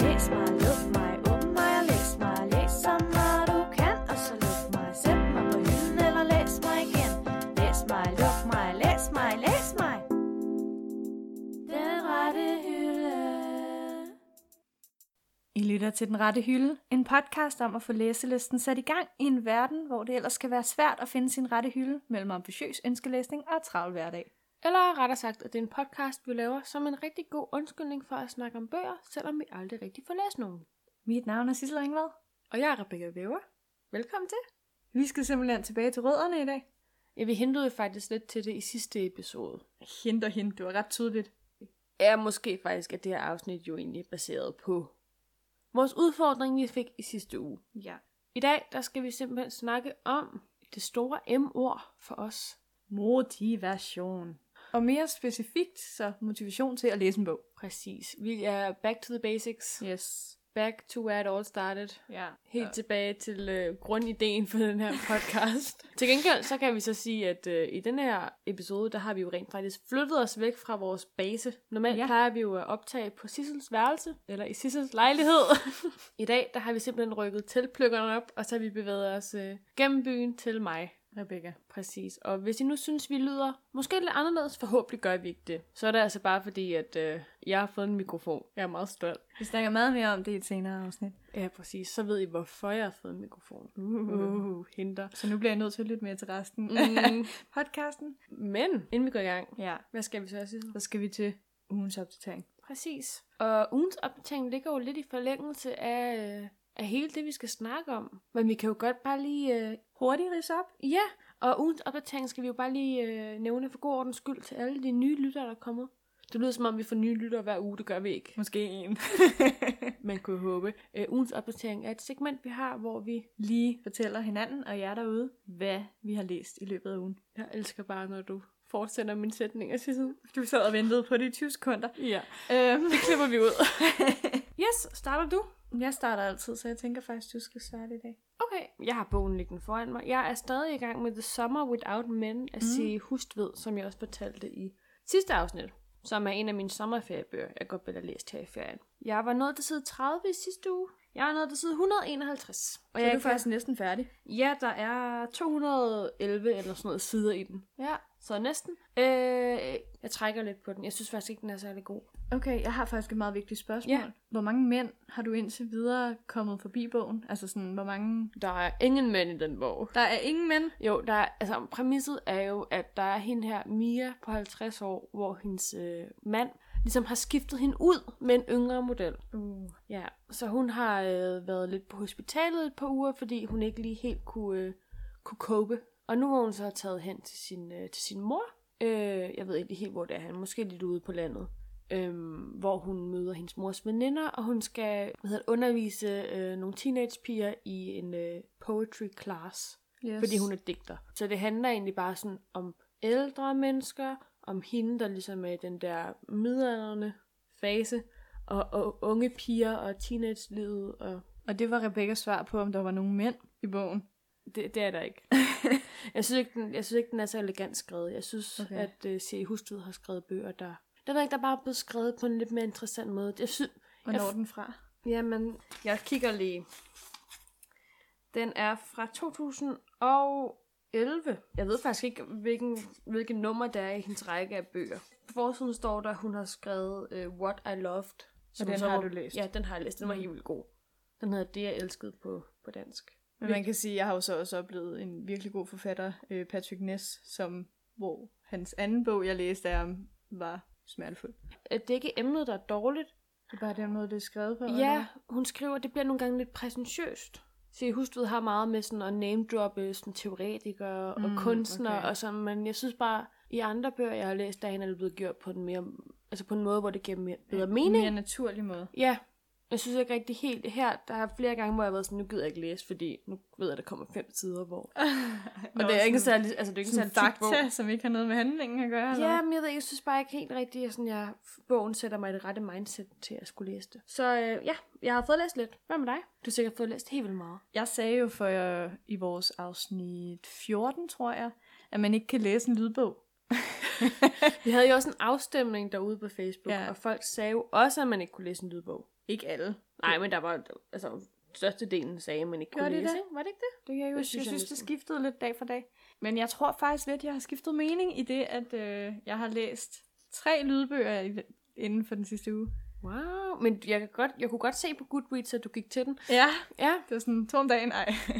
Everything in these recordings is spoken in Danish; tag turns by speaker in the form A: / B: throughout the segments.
A: læs mig, luk mig, åbn mig og læs mig. Læs så meget du kan, og så luk mig. Sæt mig på hylden eller læs mig igen. Læs mig, luk mig, læs mig, læs mig. Den rette hylde. I lytter til Den Rette Hylde, en podcast om at få læselisten sat i gang i en verden, hvor det ellers kan være svært at finde sin rette hylde mellem ambitiøs ønskelæsning og travl hverdag.
B: Eller rettere sagt, at det er en podcast, vi laver som en rigtig god undskyldning for at snakke om bøger, selvom vi aldrig rigtig får læst nogen.
A: Mit navn er Sissel Ringvad.
B: Og jeg er Rebecca Væver. Velkommen til.
A: Vi skal simpelthen tilbage til rødderne i dag.
B: Ja, vi hentede faktisk lidt til det i sidste episode.
A: Hint og hint, det var ret tydeligt.
B: Er måske faktisk, at det her afsnit jo egentlig er baseret på vores udfordring, vi fik i sidste uge.
A: Ja.
B: I dag, der skal vi simpelthen snakke om det store M-ord for os.
A: Motivation. Og mere specifikt, så motivation til at læse en bog.
B: Præcis. Vi er back to the basics.
A: Yes.
B: Back to where it all started.
A: Ja.
B: Helt tilbage til øh, grundideen for den her podcast. til gengæld så kan vi så sige, at øh, i den her episode, der har vi jo rent faktisk flyttet os væk fra vores base. Normalt
A: Ja.
B: ja. plejer vi jo at optage på Sissels værelse, eller i Sissels lejlighed. I dag, der har vi simpelthen rykket tilpløkkerne op, og så har vi bevæget os øh, gennem byen til mig.
A: Rebecca.
B: Præcis. Og hvis I nu synes, vi lyder måske lidt anderledes, forhåbentlig gør vi ikke det. Så er det altså bare fordi, at øh, jeg har fået en mikrofon. Jeg er meget stolt.
A: Vi snakker meget mere om det i et senere afsnit.
B: Ja, præcis. Så ved I, hvorfor jeg har fået en mikrofon.
A: Uh.
B: Uh, hinder.
A: Så nu bliver jeg nødt til at lytte mere til resten
B: Mm.
A: podcasten.
B: Men, inden vi går i gang,
A: Ja.
B: hvad skal vi så sige?
A: Så skal vi til ugens opdatering.
B: Præcis. Og ugens opdatering ligger jo lidt i forlængelse af, øh, af hele det, vi skal snakke om. Men vi kan jo godt bare lige... Øh,
A: Hurtigt rids op.
B: ja, og ugens opdatering skal vi jo bare lige øh, nævne for god ordens skyld til alle de nye lyttere, der er kommet. Det lyder som om, vi får nye lyttere hver uge. Det gør vi ikke.
A: Måske en.
B: Man kunne håbe. Øh, ugens opdatering er et segment, vi har, hvor vi...
A: Lige fortæller hinanden og jer derude, hvad vi har læst i løbet af ugen.
B: Jeg elsker bare, når du fortsætter min sætning af sidste.
A: Du sad og ventede på det i 20 sekunder.
B: Ja.
A: Øhm,
B: Det klipper vi ud. yes, starter du?
A: jeg starter altid, så jeg tænker faktisk, du skal starte i dag.
B: Okay, jeg har bogen liggende foran mig. Jeg er stadig i gang med The Summer Without Men af C. Hustved, som jeg også fortalte i sidste afsnit, som er en af mine sommerferiebøger, jeg godt ville have læst her i ferien. Jeg var nået til side 30 i sidste uge. Jeg er nået til side 151. Og jeg kan...
A: næsten færdig.
B: Ja, der er 211 eller sådan noget sider i den.
A: Ja.
B: Så næsten. Øh, jeg trækker lidt på den. Jeg synes faktisk ikke, den er særlig god.
A: Okay, jeg har faktisk et meget vigtigt spørgsmål.
B: Ja.
A: Hvor mange mænd har du indtil videre kommet forbi bogen? Altså sådan, hvor mange...
B: Der er ingen mænd i den bog.
A: Der er ingen mænd.
B: Jo, der er, altså præmisset er jo, at der er hende her, Mia på 50 år, hvor hendes øh, mand ligesom har skiftet hende ud med en yngre model.
A: Uh.
B: Ja, så hun har øh, været lidt på hospitalet et par uger, fordi hun ikke lige helt kunne, øh, kunne cope. Og nu har hun så taget hen til sin, øh, til sin mor. Øh, jeg ved ikke helt, hvor det er han. Måske lidt ude på landet. Øhm, hvor hun møder hendes mors veninder, og hun skal hvad hedder, det, undervise øh, nogle teenagepiger i en øh, poetry class
A: Yes.
B: fordi hun er digter. Så det handler egentlig bare sådan om ældre mennesker, om hende, der ligesom er i den der midalderne fase, og, og unge piger og teenage-livet, og
A: Og det var Rebekkas svar på, om der var nogen mænd i bogen.
B: det, det er der ikke. jeg, synes ikke den, jeg synes ikke, den er så elegant skrevet. Jeg synes,
A: Okay.
B: okay. at uh, C. Husted har skrevet bøger, der... Der ved jeg ikke, der er bare blevet skrevet på en lidt mere interessant måde. Jeg synes,
A: Hvor når
B: Jeg f-
A: den fra?
B: Jamen, jeg kigger lige. Den er fra 2011. Jeg ved faktisk ikke, hvilken, hvilken nummer der er i hendes række af bøger. På forsiden står der, at hun har skrevet uh, What I Loved. som
A: den
B: så
A: har
B: var-
A: du læst? Mm.
B: Ja, den har jeg læst. Den var helt vildt god. Den hedder Det, jeg elskede på, på dansk.
A: Men man kan sige, at jeg har jo så også oplevet en virkelig god forfatter, øh, Patrick Ness, som, hvor hans anden bog, jeg læste af ham, var smertefuld.
B: Øh, Det er ikke emnet, der er dårligt.
A: Det er bare den måde, det er skrevet på.
B: Ja, hun skriver, at det bliver nogle gange lidt præsentøst. Se, Hustved har meget med sådan at name-droppe sådan teoretikere mm,
A: Mm,
B: og kunstnere
A: okay.
B: okay. og sådan, men jeg synes bare, i andre bøger, jeg har læst, der er hende, der er blevet gjort på en, mere, altså på en måde, hvor det giver mere, bedre mening.
A: mere naturlig måde.
B: Ja, jeg synes ikke rigtig helt her. Der er flere gange, hvor jeg har været sådan, nu gider jeg ikke læse, fordi nu ved jeg, at der kommer fem sider, hvor... Og det er ikke særlig, altså det er ikke
A: sådan
B: særlig tyk bog.
A: fakta, som ikke har noget med handlingen at gøre.
B: Ja, men jeg ved ikke, jeg synes bare ikke helt rigtigt, at sådan, jeg, bogen sætter mig i det rette mindset til at skulle læse det. Så øh, ja, jeg har fået læst lidt. Hvad med dig? Du har sikkert fået læst helt vildt meget.
A: Jeg sagde jo for øh, i vores afsnit 14, tror jeg, at man ikke kan læse en lydbog.
B: Vi havde jo også en afstemning derude på Facebook,
A: Ja.
B: ja. og folk sagde jo også, at man ikke kunne læse en lydbog. Ikke alle. Nej, men der var, altså, størstedelen sagde, man ikke kunne
C: Gjorde de
B: læse.
C: det?
B: ikke? Var det ikke det?
C: Det kan jeg
B: Det
C: jo jeg
B: synes
C: synes, jeg
B: jeg
C: synes
B: næsten.
C: det skiftede lidt dag for dag. Men jeg tror faktisk lidt, jeg har skiftet mening i det, at øh, jeg har læst tre lydbøger i, inden for den sidste uge.
B: Wow, men jeg, kan godt, jeg kunne godt se på Goodreads, at du gik til den.
C: Ja,
B: Ja,
C: det var sådan to om dagen. Ej.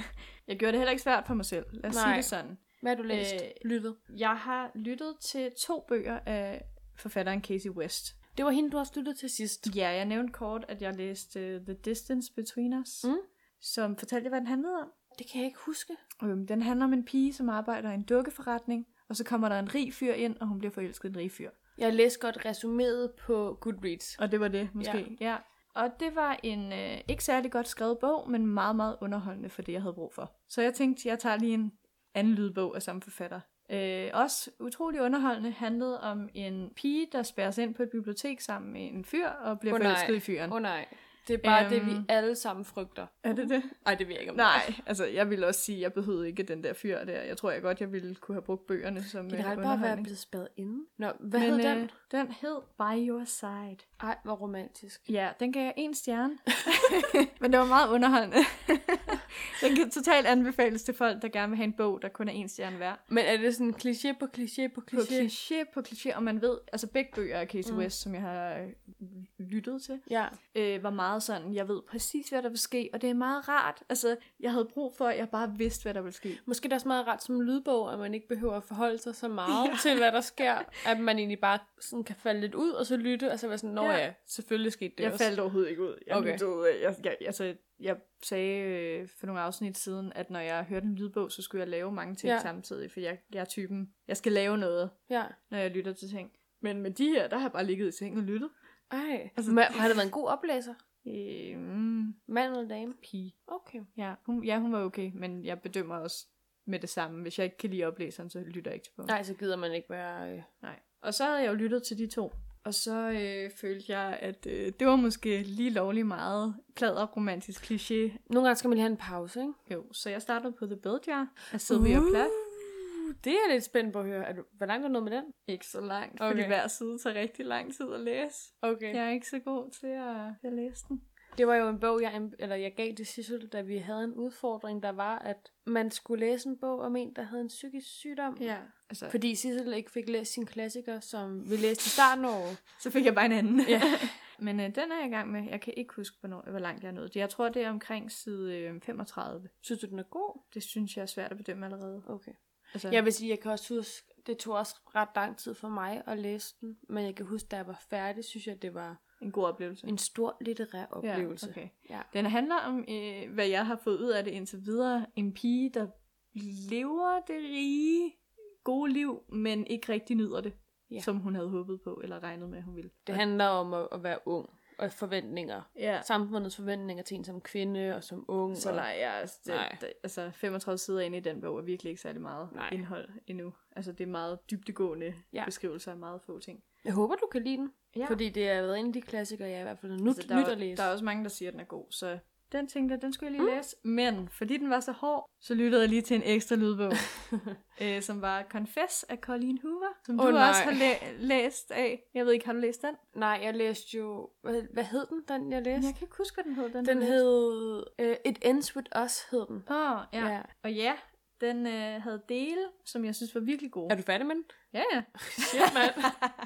C: Jeg gjorde det heller ikke svært for mig selv. Lad os Nej. sige
B: Nej.
C: det sådan.
B: hvad har du læst?
C: Øh,
B: Øh, Lyttet.
C: Jeg har lyttet til to bøger af forfatteren Casey West.
B: Det var hende, du også lyttede til sidst.
C: Ja, jeg nævnte kort, at jeg læste uh, The Distance Between Us,
B: Mm.
C: som fortalte, hvad den handlede om.
B: Det kan jeg ikke huske.
C: Øhm, den handler om en pige, som arbejder i en dukkeforretning, og så kommer der en rig fyr ind, og hun bliver forelsket i en rig fyr.
B: Jeg læste godt resuméet på Goodreads.
C: Og det var det, måske. Ja. ja. Og det var en øh, ikke særlig godt skrevet bog, men meget, meget underholdende for det, jeg havde brug for. Så jeg tænkte, jeg tager lige en anden lydbog af samme forfatter. Øh, også utrolig underholdende handlede om en pige, der spærres ind på et bibliotek sammen med en fyr og bliver
B: Åh,
C: oh,
B: nej.
C: forelsket i fyren.
B: Åh oh, nej, det er bare
C: Øhm.
B: øhm... det, vi alle sammen frygter.
C: Er det det?
B: Nej, det ved jeg ikke om det
C: Nej, altså jeg ville også sige, at jeg behøvede ikke den der fyr der. Jeg tror jeg godt, jeg ville kunne have brugt bøgerne som
B: er.
C: øh,
B: Generelt bare være
C: underholdning.
B: blevet spadet inde. Nå, hvad Men, øh, hed
C: Men,
B: den?
C: øh, den hed By Your Side.
B: Ej, hvor romantisk.
C: Ja, den gav jeg en stjerne. Men det var meget underholdende. den kan totalt anbefales til folk, der gerne vil have en bog, der kun er en stjerne hver.
B: Men er det sådan kliché på kliché på
C: På
B: kliché?
C: kliché, på kliché, og man ved, altså begge bøger af Casey
B: Mm.
C: mm. West, som jeg har øh, lyttet til,
B: Ja.
C: øh, var meget sådan, jeg ved præcis, hvad der vil ske, og det er meget rart. Altså, jeg havde brug for, at jeg bare vidste, hvad der ville ske.
B: Måske er det også meget rart som lydbog, at man ikke behøver at forholde sig så meget ja. til, hvad der sker. At man egentlig bare sådan kan falde lidt ud og så lytte, og så være sådan, nå
C: Ja.
B: ja, ja selvfølgelig skete det
C: jeg
B: også.
C: faldt overhovedet ikke ud. Jeg,
B: Okay.
C: okay. ud af- jeg, jeg, altså, jeg sagde øh, for nogle afsnit siden, at når jeg hørte en lydbog, så skulle jeg lave mange ting
B: Ja.
C: ja. samtidig, for jeg, jeg er typen, jeg skal lave noget,
B: Ja.
C: når jeg lytter til ting. Men med de her, der har jeg bare ligget i sengen og lyttet.
B: Ej,
C: Altså-
B: altså, man, har det været en god oplæser?
C: Øhm,
B: Mand eller dame?
C: pige.
B: Okay.
C: Ja hun, ja, hun var okay, men jeg bedømmer også med det samme. Hvis jeg ikke kan lide oplæseren, så lytter jeg ikke til bogen.
B: Nej, så gider man ikke være... Øh...
C: Nej. Og så havde jeg jo lyttet til de to. Og så øh, følte jeg, at øh, det var måske lige lovlig meget plader romantisk kliché
B: Nogle gange skal man lige have en pause, ikke?
C: Jo, så jeg startede på The Bell Jar af Sylvia uh. Plath.
B: Det er jeg lidt spændt på at høre. Er du, hvor langt er du nået med den?
C: Ikke så langt, okay.
B: Okay.
C: fordi hver side tager rigtig lang tid at læse.
B: Okay. Ja.
C: Jeg er ikke så god til at, at læse den.
B: Det var jo en bog, jeg, anb- eller jeg gav til Sissel, da vi havde en udfordring, der var, at man skulle læse en bog om en, der havde en psykisk sygdom.
C: Ja. Altså, fordi...
B: Fordi Sissel ikke fik læst sin klassiker, som vi læste i starten af året.
C: Så fik jeg bare en anden.
B: Ja.
C: Men øh, den er jeg i gang med. Jeg kan ikke huske, hvornår, hvor langt jeg er nået. Jeg tror, det er omkring side øh, 35.
B: Synes du, den er god?
C: Det synes jeg er svært at bedømme allerede.
B: Okay.
C: Altså,
B: Jeg vil sige, jeg kan også huske, det tog også ret lang tid for mig at læse den. Men jeg kan huske, da jeg var færdig, synes jeg, det var
C: en god oplevelse.
B: en stor litterær oplevelse.
C: Ja, okay.
B: Ja.
C: Den handler om, øh, hvad jeg har fået ud af det indtil videre. En pige, der lever det rige, gode liv, men ikke rigtig nyder det,
B: Ja.
C: ja. som hun havde håbet på, eller regnet med, hun ville.
B: Det handler om at, at være ung og forventninger.
C: ja.
B: samfundets forventninger til en som kvinde og som ung.
C: Så
B: og...
C: nej, jeg, altså, det,
B: Nej.
C: Det, altså 35 sider inde i den bog er virkelig ikke særlig meget
B: Nej.
C: nej. indhold endnu. Altså det er meget dybtegående
B: Ja.
C: ja. beskrivelser af meget få ting.
B: Jeg håber, du kan lide den.
C: Ja.
B: Fordi det er været en af de klassikere, jeg i hvert fald har nu
C: altså, der,
B: altså, at
C: er, jo-
B: læse.
C: der er også mange, der siger, at den er god, så den tænkte jeg, den skulle jeg lige mm. læse. Men fordi den var så hård, så lyttede jeg lige til en ekstra lydbog, øh, som var Confess af Colleen Hoover, som
B: Åh,
C: du
B: nej.
C: også har læ- læst af. Jeg ved ikke, har du læst den?
B: Nej, jeg læste jo... Hvad, hvad hed den, den jeg læste?
C: Jeg kan ikke huske, hvad den hed. Den,
B: Den hed... Øh, It Ends With Us hed den.
C: Åh, oh, ja.
B: Ja.
C: ja. Og ja, den øh, havde dele, som jeg synes var virkelig gode.
B: Er du færdig med den?
C: Ja, ja.
B: Shit, mand.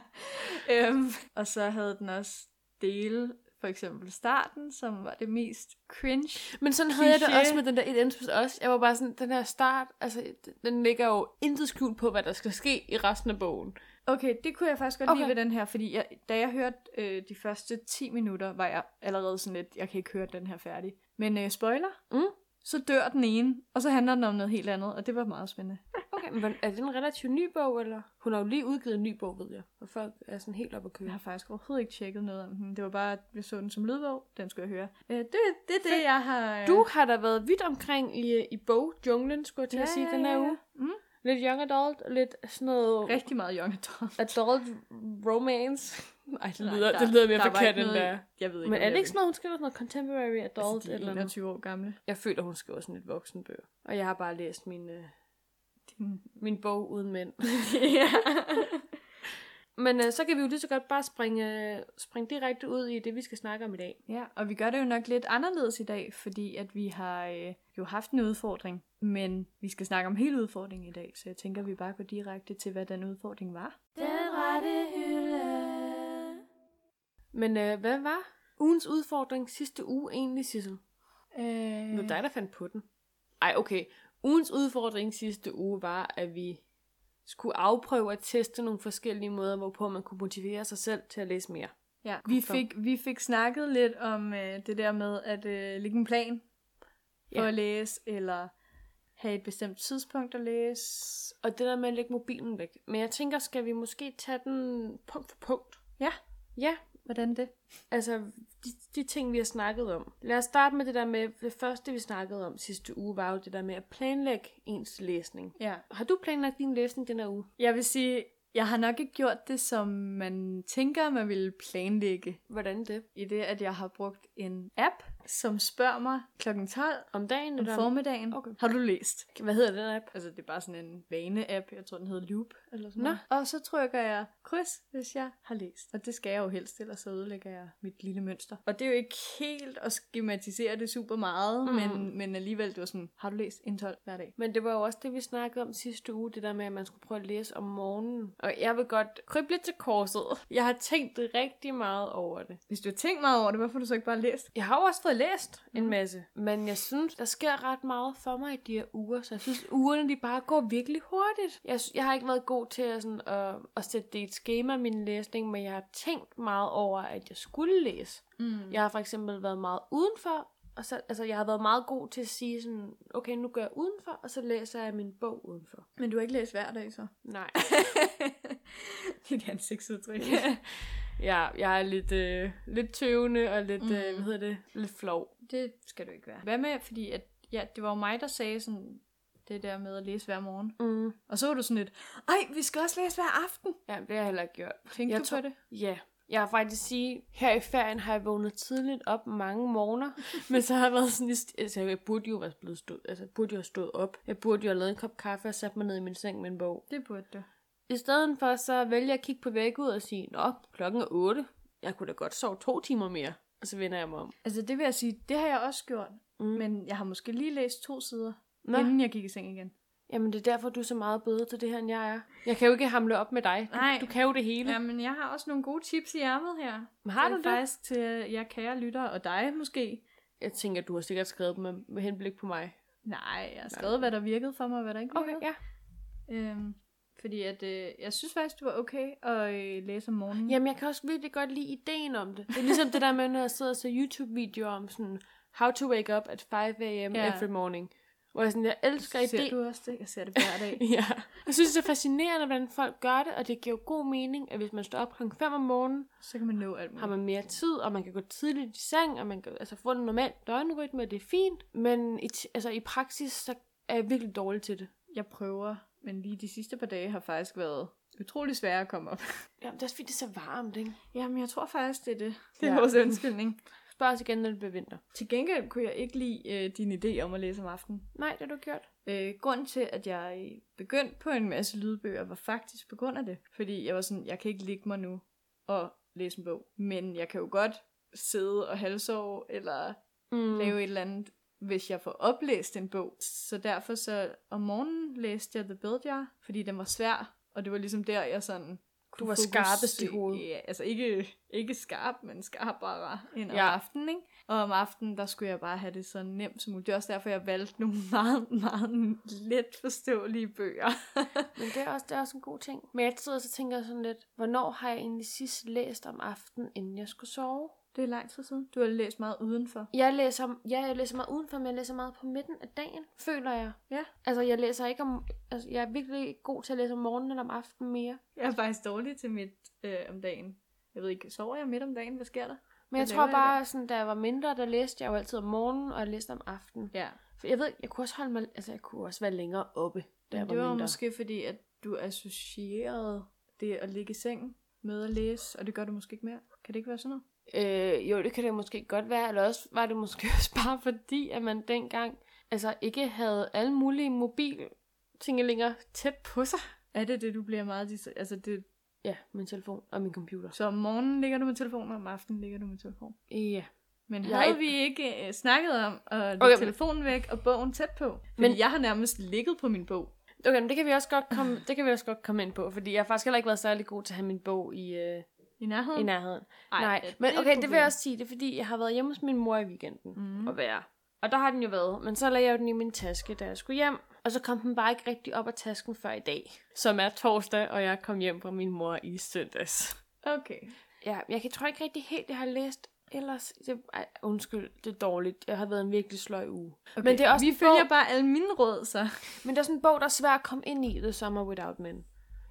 C: øhm, og så havde den også dele, for eksempel starten, som var det mest cringe.
B: Men sådan havde jeg det
C: Kliché.
B: også med den der It Ends With Us. Jeg var bare sådan, den her start, altså, den ligger jo intet skjult på, hvad der skal ske i resten af bogen.
C: Okay, det kunne jeg faktisk godt okay.
B: Okay.
C: lide ved den her, fordi jeg, da jeg hørte øh, de første 10 minutter, var jeg allerede sådan lidt, jeg kan ikke høre den her færdig. Men øh, spoiler,
B: Mm.
C: så dør den ene, og så handler den om noget helt andet, og det var meget spændende.
B: Okay, men er det en relativt ny bog, eller? Hun har jo lige udgivet en ny bog, ved jeg. Og folk er sådan helt oppe at
C: Jeg
B: køre.
C: har faktisk overhovedet ikke tjekket noget om den. Det var bare, at jeg så den som lydbog, den skulle jeg høre. Øh, det er det, det,
B: Fedt.
C: jeg har... øh,
B: Du har da været vidt omkring i, i bogjunglen, skulle jeg til
C: Ja,
B: at sige,
C: ja,
B: den her
C: ja, ja.
B: uge.
C: Mm.
B: Lidt young adult, lidt sådan noget
C: Rigtig meget young adult.
B: adult romance. Ej, det
C: Nej,
B: lyder,
C: der-
B: det lyder mere
C: der var
B: forkert
C: ikke
B: end
C: noget-
B: der.
C: Jeg ved ikke,
B: Men
C: om
B: er
C: jeg
B: det ikke
C: vil.
B: sådan noget, hun skriver sådan noget contemporary adult
C: Altså, de
B: eller
C: er
B: noget?
C: 21 år gamle.
B: Jeg føler, hun skriver sådan lidt voksenbøger. Og jeg har bare læst min, øh,
C: Din-
B: min bog uden mænd.
C: ja.
B: Men øh, så kan vi jo lige så godt bare springe, øh, springe direkte ud i det, vi skal snakke om i dag.
C: Ja, og vi gør det jo nok lidt anderledes i dag, fordi at vi har øh, jo haft en udfordring, men vi skal snakke om hele udfordringen i dag, så jeg tænker, at vi bare går direkte til, hvad den udfordring var.
A: Den rette hylde.
B: Men øh, hvad var ugens udfordring sidste uge egentlig, Sissel?
C: Øh...
B: Det var dig, der fandt på den. Ej, okay. Ugens udfordring sidste uge var, at vi skulle afprøve at teste nogle forskellige måder, hvorpå man kunne motivere sig selv til at læse mere.
C: Ja,
B: god
C: vi
B: for.
C: fik, vi fik snakket lidt om øh, det der med at øh, lægge en plan for
B: Ja.
C: at læse, eller have et bestemt tidspunkt at læse.
B: Og det der med at lægge mobilen væk. Men jeg tænker, skal vi måske tage den punkt for punkt?
C: Ja,
B: Ja,
C: hvordan det?
B: altså de, de ting, vi har snakket om. Lad os starte med det der med, det første vi snakkede om sidste uge, var jo det der med at planlægge ens læsning.
C: Ja.
B: Har du planlagt din læsning den her uge?
C: Jeg vil sige, jeg har nok ikke gjort det, som man tænker, man ville planlægge.
B: Hvordan det?
C: I det, at jeg har brugt en app, som spørger mig kl. 12
B: Om dagen?
C: om
B: Eller
C: formiddagen,
B: Okay.
C: har du læst?
B: Hvad hedder den app?
C: Altså, det er bare sådan en vane-app. Jeg tror, den hedder Loop eller sådan
B: Nå.
C: noget. Og så trykker jeg kryds, hvis jeg har læst. Og det skal jeg jo helst, ellers så ødelægger jeg mit lille mønster. Og det er jo ikke helt at skematisere det super meget,
B: Mm.
C: mm. men, men alligevel, det var sådan, har du læst en 12 hver dag?
B: Men det var jo også det, vi snakkede om sidste uge, det der med, at man skulle prøve at læse om morgenen. Og jeg vil godt krybe lidt til korset. Jeg har tænkt rigtig meget over det.
C: Hvis du har tænkt meget over det, hvorfor har du så ikke bare læst?
B: Jeg har jo også fået læst en
C: Mhm.
B: masse, men jeg synes, der sker ret meget for mig i de her uger, så jeg synes, ugerne de bare går virkelig hurtigt. Jeg, sy- jeg har ikke været god til at, sådan, at, at sætte det i et schema, min læsning, men jeg har tænkt meget over, at jeg skulle læse.
C: Mm.
B: Jeg har for eksempel været meget udenfor, og så, altså jeg har været meget god til at sige sådan, okay, nu gør jeg udenfor, og så læser jeg min bog udenfor.
C: Men du har ikke læst hver dag, så?
B: Nej.
C: Dit ansigtsudtryk.
B: Ja, jeg er lidt, øh, lidt tøvende og lidt, mm.
C: Mm.
B: øh, hvad hedder det, lidt flov.
C: det skal du ikke være. Hvad med, fordi at, ja, det var jo mig, der sagde sådan, det der med at læse hver morgen.
B: Mm.
C: Og så var du sådan lidt, ej, vi skal også læse hver aften.
B: Ja, det har jeg heller ikke gjort.
C: Tænkte
B: Jeg
C: du
B: tror-
C: på det?
B: Ja, jeg har faktisk sige, her i ferien har jeg vågnet tidligt op mange morgener, men så har jeg været sådan, i st- altså jeg burde jo være blevet stået, altså jeg burde jo have stået op. Jeg burde jo have lavet en kop kaffe og sat mig ned i min seng med en bog.
C: Det burde du.
B: I stedet for så vælger jeg at kigge på vækket og sige, nå, klokken er 8. Jeg kunne da godt sove to timer mere. Og så vender jeg mig om.
C: Altså det vil jeg sige, det har jeg også gjort.
B: Mm.
C: Men jeg har måske lige læst to sider,
B: Nå.
C: Nå. inden jeg gik i seng igen.
B: Jamen, det er derfor, du er så meget bedre til det her, end jeg er. Jeg kan jo ikke hamle op med dig. Du,
C: Nej.
B: du kan jo det hele.
C: men jeg har også nogle gode tips i ærmet her.
B: Men har du det?
C: Faktisk til jer kære lyttere, og dig måske.
B: Jeg tænker, du har sikkert skrevet dem med- med henblik på mig.
C: Nej, jeg har skrevet, hvad der virkede for mig, og hvad der ikke virkede.
B: ja.
C: Øhm, fordi at, øh, jeg synes faktisk, det var okay at øh, læse om morgenen.
B: Jamen, jeg kan også virkelig godt lide ideen om det. Det er ligesom det der med, når jeg sidder og ser YouTube-videoer om sådan, how to wake up at 5 a.m.
C: Ja.
B: every morning. Hvor jeg sådan, jeg elsker
C: ser
B: ideen.
C: du også det? Jeg ser det hver dag.
B: Ja. Jeg synes, det er fascinerende, hvordan folk gør det, og det giver jo god mening, at hvis man står op kl. 5 om morgenen,
C: så kan man nå alt muligt.
B: har man mere tid, og man kan gå tidligt i seng, og man kan altså, få en normal døgnrytme, og det er fint. Men i, t- altså, i praksis, så er jeg virkelig dårlig til det.
C: Jeg prøver, men lige de sidste par dage har faktisk været utrolig svære at komme op.
B: Jamen, det er også fordi, det er så varmt, ikke?
C: Jamen, jeg tror faktisk, det er det.
B: Det er vores
C: undskyldning.
B: Spørg os igen, når det bliver vinter.
C: Til gengæld kunne jeg ikke lide øh, din idé om at læse om aftenen.
B: Nej, det har du gjort.
C: Øh, grunden til, at jeg begyndte på en masse lydbøger, var faktisk på grund af det. Fordi jeg var sådan, jeg kan ikke ligge mig nu og læse en bog. Men jeg kan jo godt sidde og halvsove, eller
B: Mm.
C: lave et eller andet, hvis jeg får oplæst en bog. Så derfor så om morgenen læste jeg The Build Jar, fordi den var svær, og det var ligesom der, jeg sådan...
B: Du
C: kunne
B: var
C: fokusere-
B: skarpest i hovedet.
C: Ja, altså ikke, ikke skarp, men skarpere end om
B: Ja.
C: ja. aftenen, ikke? Og om aftenen, der skulle jeg bare have det så nemt som muligt. Det er også derfor, jeg valgte nogle meget, meget let forståelige bøger.
B: Men det er, også, det er også en god ting. Men jeg sidder og så tænker jeg sådan lidt, hvornår har jeg egentlig sidst læst om aftenen, inden jeg skulle sove?
C: det er lang tid siden. Du har læst meget udenfor.
B: Jeg læser, ja, jeg læser meget udenfor, men jeg læser meget på midten af dagen, føler jeg.
C: Ja.
B: Altså, jeg læser ikke om... Altså, jeg er virkelig ikke god til at læse om morgenen eller om aftenen mere.
C: Jeg er faktisk dårlig til midt øh, om dagen. Jeg ved ikke, sover jeg midt om dagen? Hvad sker der?
B: Men jeg
C: Hvad
B: tror
C: laver jeg
B: bare, sådan, da jeg var mindre, der læste jeg jo altid om morgenen, og jeg læste om aftenen.
C: Ja,
B: For jeg ved, ikke, jeg kunne også holde mig... Altså, jeg kunne også være længere oppe, da jeg
C: Men
B: var,
C: det var
B: mindre.
C: måske fordi, at du associerede det at ligge i sengen med at læse, og det gør du måske ikke mere. Kan det ikke være sådan noget?
B: Øh, jo, det kan det måske godt være, eller også var det måske også bare fordi, at man dengang altså ikke havde alle mulige mobil tingelinger tæt på sig.
C: Er det det, du bliver meget... dis- Altså, det,
B: Ja, min telefon og min computer.
C: Så om morgenen ligger du med telefonen, og om aftenen ligger du med telefonen.
B: Ja.
C: Men
B: Jeg-
C: havde vi ikke øh, snakket om at lægge
B: Okay,
C: okay,
B: men-
C: telefonen væk og bogen tæt på? Men
B: Men-
C: jeg har nærmest ligget på min bog.
B: Okay, men det kan vi også godt komme, det kan vi også godt komme ind på, fordi jeg har faktisk heller ikke været særlig god til at have min bog i, øh,
C: I
B: i
C: nærheden?
B: nærheden.
C: Ej,
B: Ej,
C: er
B: Nej,
C: det
B: men
C: et
B: okay, det vil
C: problem?
B: jeg også sige, det er fordi, jeg har været hjemme hos min mor i weekenden
C: Mhm.
B: mm. og være. Og der har den jo været, men så lagde jeg jo den i min taske, da jeg skulle hjem. Og så kom den bare ikke rigtig op af tasken før i dag, som er torsdag, og jeg kom hjem fra min mor i søndags.
C: Okay.
B: Ja, jeg kan, tror ikke rigtig helt, jeg har læst ellers. Det, ej, undskyld, det er dårligt. Jeg har været en virkelig sløj uge.
C: okay.
B: Men det er også
C: vi
B: en
C: følger
B: bog-
C: bare alle mine råd, så.
B: Men der er sådan en bog, der er svær at komme ind i, The Summer Without Men.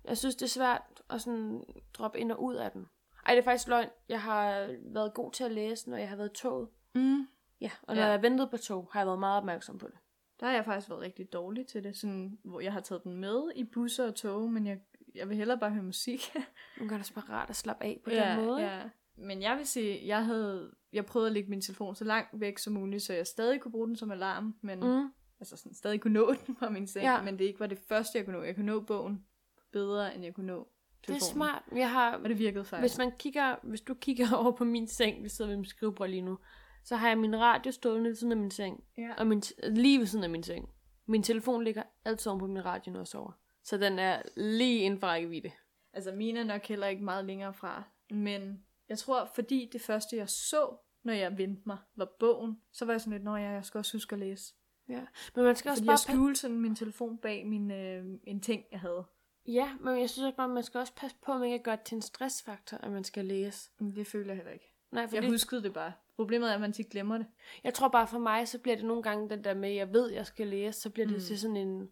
B: Jeg synes, det er svært at sådan droppe ind og ud af den. Ej, det er faktisk løgn. Jeg har været god til at læse, når jeg har været i toget.
C: Mm.
B: Ja, og når
C: Ja.
B: ja. jeg ventede på tog, har jeg været meget opmærksom på det.
C: Der har jeg faktisk været rigtig dårlig til det. Sådan, hvor jeg har taget den med i busser og tog, men jeg, jeg vil hellere bare høre musik.
B: Nogle gange er det bare rart at slappe af på ja, den måde. Ja.
C: Ja. Men jeg vil sige, jeg havde jeg prøvede at lægge min telefon så langt væk som muligt, så jeg stadig kunne bruge den som alarm, men mm.
B: Mm.
C: altså sådan, stadig kunne nå den fra min seng, ja.
B: Ja.
C: men det ikke var det første, jeg kunne nå. Jeg kunne nå bogen bedre, end jeg kunne nå
B: Det er
C: telefonen.
B: smart. Jeg har,
C: Og det virkede faktisk.
B: hvis, man kigger, hvis du kigger over på min seng, vi sidder ved min skrivebord lige nu, så har jeg min radio stående ved siden af min seng.
C: Ja.
B: Og min, lige ved siden af min seng. Min telefon ligger altid oven på min radio, når jeg sover. Så den er lige inden for rækkevidde.
C: Altså mine er nok heller ikke meget længere fra, men jeg tror, fordi det første, jeg så, når jeg vendte mig, var bogen, så var jeg sådan lidt, når jeg, jeg skal også huske at læse.
B: Ja. Men man skal også
C: Fordi
B: bare
C: jeg
B: passe...
C: skjulte sådan min telefon bag min, øh, en ting, jeg havde.
B: Ja, men jeg synes også bare, man skal også passe på, at man ikke gør det til en stressfaktor, at man skal læse.
C: Men Det føler jeg heller ikke.
B: Nej, for
C: Jeg
B: det,
C: huskede det bare. Problemet er, at man tit glemmer det.
B: jeg tror bare for mig, så bliver det nogle gange den der med, jeg ved, jeg skal læse, så bliver det
C: Mm.
B: mm. til sådan en...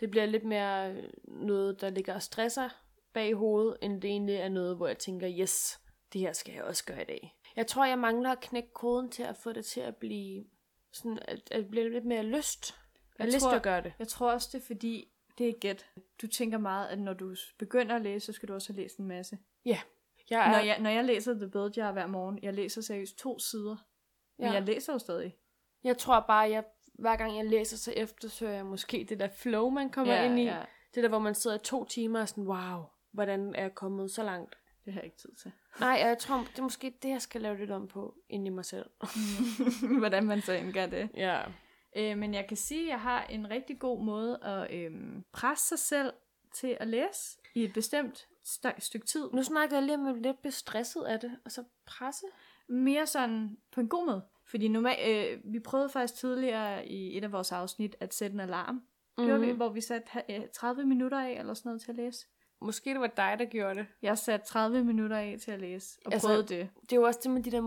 B: Det bliver lidt mere øh, noget, der ligger og stresser bag i hovedet, end det egentlig er noget, hvor jeg tænker, yes, det her skal jeg også gøre i dag. Jeg tror, jeg mangler at knække koden til at få det til at blive sådan, at, at blive lidt mere lyst. Jeg
C: Jeg
B: har lyst
C: tror-
B: til at gøre det.
C: Jeg tror også, det er fordi, det er gæt. Du tænker meget, at når du s- begynder at læse, så skal du også have læst en masse.
B: Ja. Jeg
C: Når
B: er,
C: jeg, når jeg læser The Bill Jar hver morgen, jeg læser seriøst to sider. Men
B: Ja.
C: jeg læser jo stadig.
B: Jeg tror bare, jeg hver gang jeg læser, så eftersøger jeg måske det der flow, man kommer ja, ind i. Ja. Det der, hvor man sidder i to timer og sådan, wow, hvordan er jeg kommet så langt?
C: Det har jeg ikke tid til.
B: Nej, og jeg tror, det er måske det, jeg skal lave lidt om på ind i mig selv.
C: Hvordan man så indgør det.
B: Ja.
C: Øh, men jeg kan sige, at jeg har en rigtig god måde at øhm, presse sig selv til at læse i et bestemt st- stykke tid.
B: Nu snakkede jeg lige om, at jeg blev lidt bestresset af det, og så presse.
C: mere sådan på en god måde. Fordi normalt, øh, vi prøvede faktisk tidligere i et af vores afsnit at sætte en alarm.
B: Mhm.
C: Mm-hmm. Gjorde vi, hvor vi satte ha- øh, 30 minutter af eller sådan noget til at læse.
B: Måske det var dig, der gjorde det.
C: Jeg satte 30 minutter af til at læse og altså,
B: Altså-
C: prøvede det.
B: Det er jo også det med de der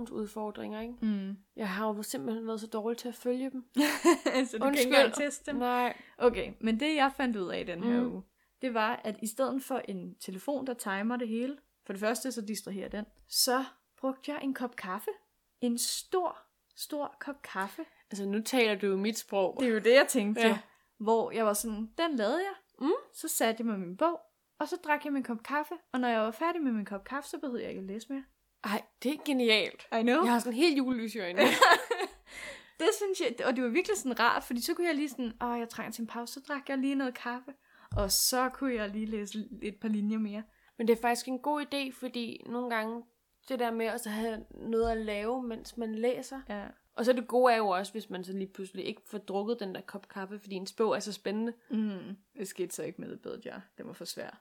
B: motivationsudfordringer, ikke?
C: Mm.
B: Jeg har jo simpelthen været så dårlig til at følge dem.
C: så du Undskyld. kan ikke engang teste dem.
B: Nej.
C: Okay, men det jeg fandt ud af i den her mm.
B: Mm.
C: uge, det var, at i stedet for en telefon, der timer det hele, for det første så distraherer den, så brugte jeg en kop kaffe. En stor, stor kop kaffe.
B: Altså, nu taler du jo mit sprog.
C: Det er jo det, jeg tænkte.
B: Ja.
C: Ja. Hvor jeg var sådan, den lavede jeg.
B: Mm.
C: Så satte jeg mig med min bog, og så drak jeg min kop kaffe. Og når jeg var færdig med min kop kaffe, så behøvede jeg ikke at læse mere.
B: Ej, det er genialt.
C: I know.
B: Jeg
C: Ja.
B: har sådan helt julelys i øjnene.
C: Det synes jeg, og det var virkelig sådan rart, fordi så kunne jeg lige sådan, åh, jeg trænger til en pause, så drak jeg lige noget kaffe. Og så kunne jeg lige læse et par linjer mere.
B: Men det er faktisk en god idé, fordi nogle gange det der med også at have noget at lave, mens man læser.
C: Ja.
B: Og så det gode er jo også, hvis man så lige pludselig ikke får drukket den der kop kaffe, fordi ens bog er så spændende.
C: Mm. Det skete så ikke med et bedre jar. Det var for svært.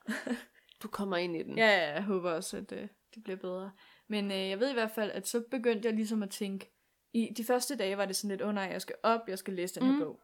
B: Du kommer ind i den.
C: Ja, ja, jeg håber også, at øh, det bliver bedre. Men øh, jeg ved i hvert fald, at så begyndte jeg ligesom at tænke, i de første dage var det sådan lidt, åh oh, nej, jeg skal op, jeg skal læse den her mm.
B: Mm.
C: bog.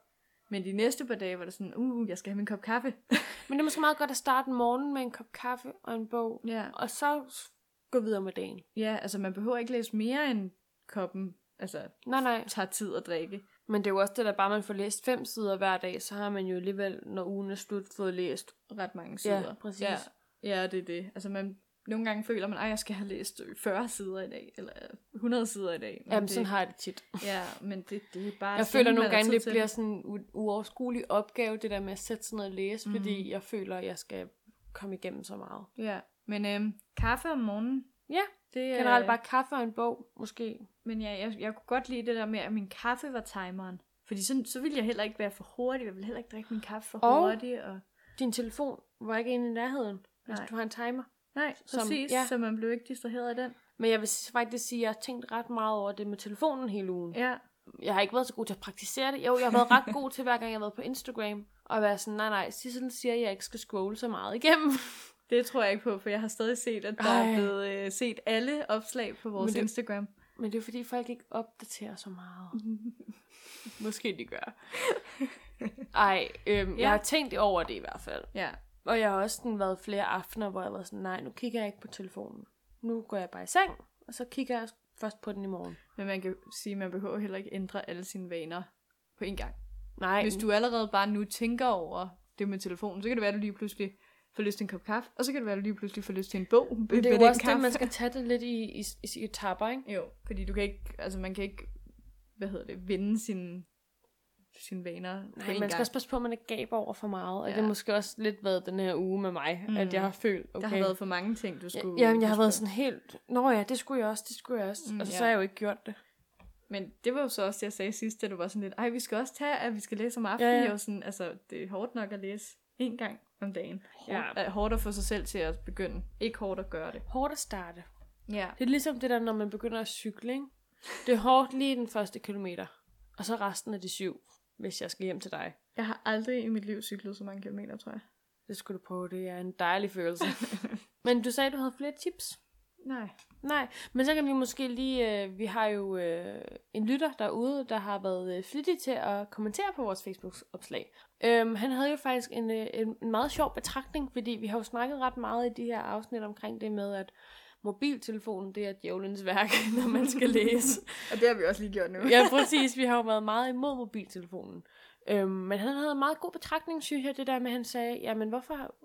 C: Men de næste par dage var det sådan, uh, jeg skal have min kop kaffe.
B: Men det er måske meget godt at starte morgenen med en kop kaffe og en bog,
C: ja.
B: og så s- gå videre med dagen.
C: ja, altså man behøver ikke læse mere end koppen, altså
B: Nej, nej.
C: tager tid at drikke.
B: Men det er jo også det, der bare man får læst fem sider hver dag, så har man jo alligevel, når ugen er slut, fået læst.
C: Ret mange
B: Ja,
C: sider.
B: præcis.
C: Ja, ja det er det. Altså man, nogle gange føler man, at jeg skal have læst 40 sider i dag, eller 100 sider i dag. Men
B: Jamen,
C: det,
B: sådan har jeg det tit.
C: Ja, men det, det er bare...
B: Jeg
C: sjældent,
B: føler nogle
C: man har
B: gange,
C: tid
B: det
C: til
B: bliver sådan en u- uoverskuelig opgave, det der med at sætte sig ned og læse, mm. fordi jeg føler, at jeg skal komme igennem så meget.
C: Ja, men øhm, kaffe om morgenen,
B: Ja,
C: det er...
B: generelt bare kaffe og en bog, måske.
C: Men ja, jeg, jeg kunne godt lide det der med, at min kaffe var timeren. Fordi så, så ville jeg heller ikke være for hurtig. Jeg ville heller ikke drikke min kaffe for
B: Og-
C: hurtigt. Og...
B: Din telefon var ikke inde i nærheden, hvis
C: Nej.
B: du har en timer.
C: Nej,
B: Som-
C: som, præcis,
B: ja.
C: ja. så man blev ikke distraheret af den.
B: Men jeg vil s- faktisk sige, at jeg har tænkt ret meget over det med telefonen hele ugen.
C: Ja,
B: Øh. Jeg har ikke været så god til at praktisere det. Jo, jeg har været ret god til, hver gang jeg har været på Instagram. Og være sådan, nej nej, Sissel siger, at jeg ikke skal scrolle så meget igennem.
C: det tror jeg ikke på, for jeg har stadig set, at der
B: Ej.
C: er blevet øh, set alle opslag på vores
B: Men det-
C: det... Instagram.
B: Men det er fordi, folk ikke opdaterer så meget.
C: Måske de gør.
B: Ej, øhm, ja.
C: Ja.
B: jeg har tænkt over det i hvert fald.
C: Ja,
B: Og jeg har også sådan været flere aftener, hvor jeg var sådan, nej, nu kigger jeg ikke på telefonen. Nu går jeg bare i seng, og så kigger jeg først på den i morgen.
C: men man kan jo sige, at man behøver heller ikke ændre alle sine vaner på en gang.
B: Nej,
C: Hvis du allerede bare nu tænker over det med telefonen, så kan det være, at du lige pludselig får lyst til en kop kaffe, og så kan det være, at du lige pludselig får lyst til en bog ved,
B: det er
C: ved
B: jo
C: den
B: også det,
C: kaffe.
B: man skal tage det lidt i, i, i, i etapper, ikke?
C: Jo, fordi du kan ikke, altså man kan ikke, hvad hedder det, vende sine, sine vaner på
B: Nej, man
C: en gang.
B: skal også passe på, at man ikke gaber over for meget. Og ja. det
C: Ja.
B: har måske også lidt været den her uge med mig, mm. at jeg har følt, okay.
C: Der har været for mange ting, du skulle...
B: ja, jamen, jeg har
C: huske på.
B: været sådan helt, nå ja, det skulle jeg også, det skulle jeg også. Mm,
C: Mm,
B: og så,
C: ja.
B: så har jeg jo ikke gjort det.
C: Men det var jo så også det, jeg sagde sidst, da du var sådan lidt, ej, vi skal også tage, at vi skal læse om aftenen.
B: Ja,
C: Ja,
B: ja.
C: ja. Jeg var sådan, altså, det er hårdt nok at læse en gang om dagen.
B: Ja.
C: Hårdt, ja. hårdt at få sig selv til at begynde. Ikke hårdt at gøre det.
B: Hårdt at starte.
C: Ja.
B: Det er ligesom det der, når man begynder at cykle, ikke? Det er hårdt lige den første kilometer. Og så resten af de syv, hvis jeg skal hjem til dig.
C: Jeg har aldrig i mit liv cyklet så mange kilometer, tror jeg.
B: Det skulle du prøve, det er en dejlig følelse. men du sagde, du havde flere tips.
C: Nej.
B: Nej, men så kan vi måske lige, øh, vi har jo øh, en lytter derude, der har været øh, flittig til at kommentere på vores Facebook-opslag. Øhm, han havde jo faktisk en, øh, en, en meget sjov betragtning, fordi vi har jo snakket ret meget i de her afsnit omkring det med, at mobiltelefonen, det er djævelens værk, når man skal læse.
C: Og det har vi også lige gjort nu.
B: ja, præcis. Vi har jo været meget imod mobiltelefonen. Øhm, men han havde en meget god betragtning, synes jeg, det der med, at han sagde, jamen hvorfor...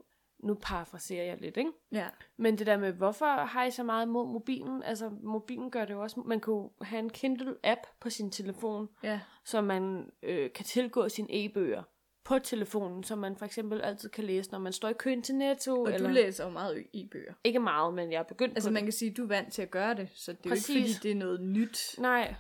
B: Nu parafraserer jeg lidt, ikke?
C: ja.
B: Men det der med, hvorfor har I så meget imod mobilen? Altså, mobilen gør det jo også... Man kunne have en Kindle-app på sin telefon,
C: ja.
B: så man øh, kan tilgå sine e-bøger på telefonen, som man for eksempel altid kan læse, når man står i køen til Netto.
C: Og du læser jo meget i bøger.
B: Ikke meget, men jeg er begyndt
C: Altså,
B: på
C: man kan sige, at du er vant til at gøre det, så det er jo ikke,
B: Præcis.
C: fordi det er noget nyt.
B: Nej.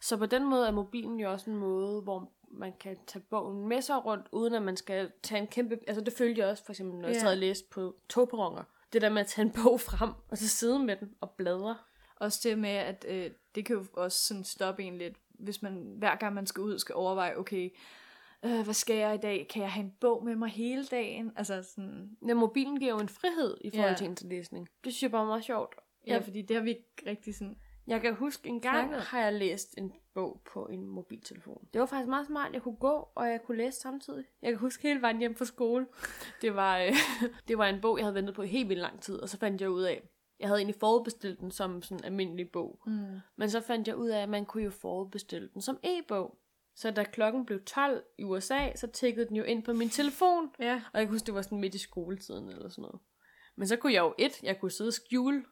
B: Så på den måde er mobilen jo også en måde, hvor man kan tage bogen med sig rundt, uden at man skal tage en kæmpe... Altså det følte jeg også, for eksempel, når jeg
C: Ja.
B: sad og læste på togperroner. Det der med at tage en bog frem, og så sidde med den og bladre.
C: Også det med, at øh, det kan jo også sådan stoppe en lidt, hvis man hver gang man skal ud, skal overveje, okay, øh, hvad skal jeg i dag? Kan jeg have en bog med mig hele dagen? Altså sådan,
B: Men mobilen giver jo en frihed i forhold
C: Ja.
B: til ens læsning. Det synes jeg bare er meget sjovt.
C: ja,
B: Ja.
C: fordi det har vi ikke rigtig sådan...
B: Jeg kan huske, en gang
C: Snakket.
B: har jeg læst en bog på en mobiltelefon. Det var faktisk meget smart. Jeg kunne gå, og jeg kunne læse samtidig. Jeg kan huske hele vejen hjem fra skole. Det var, øh, det var en bog, jeg havde ventet på i helt vildt lang tid, og så fandt jeg ud af, jeg havde egentlig forudbestilt den som sådan en almindelig bog.
C: Mm.
B: Men så fandt jeg ud af, at man kunne jo forudbestille den som e-bog. Så da klokken blev 12 i USA, så tikkede den jo ind på min telefon.
C: Ja.
B: Og jeg kan huske, det var sådan midt i skoletiden eller sådan noget. Men så kunne jeg jo et, jeg kunne sidde og skjule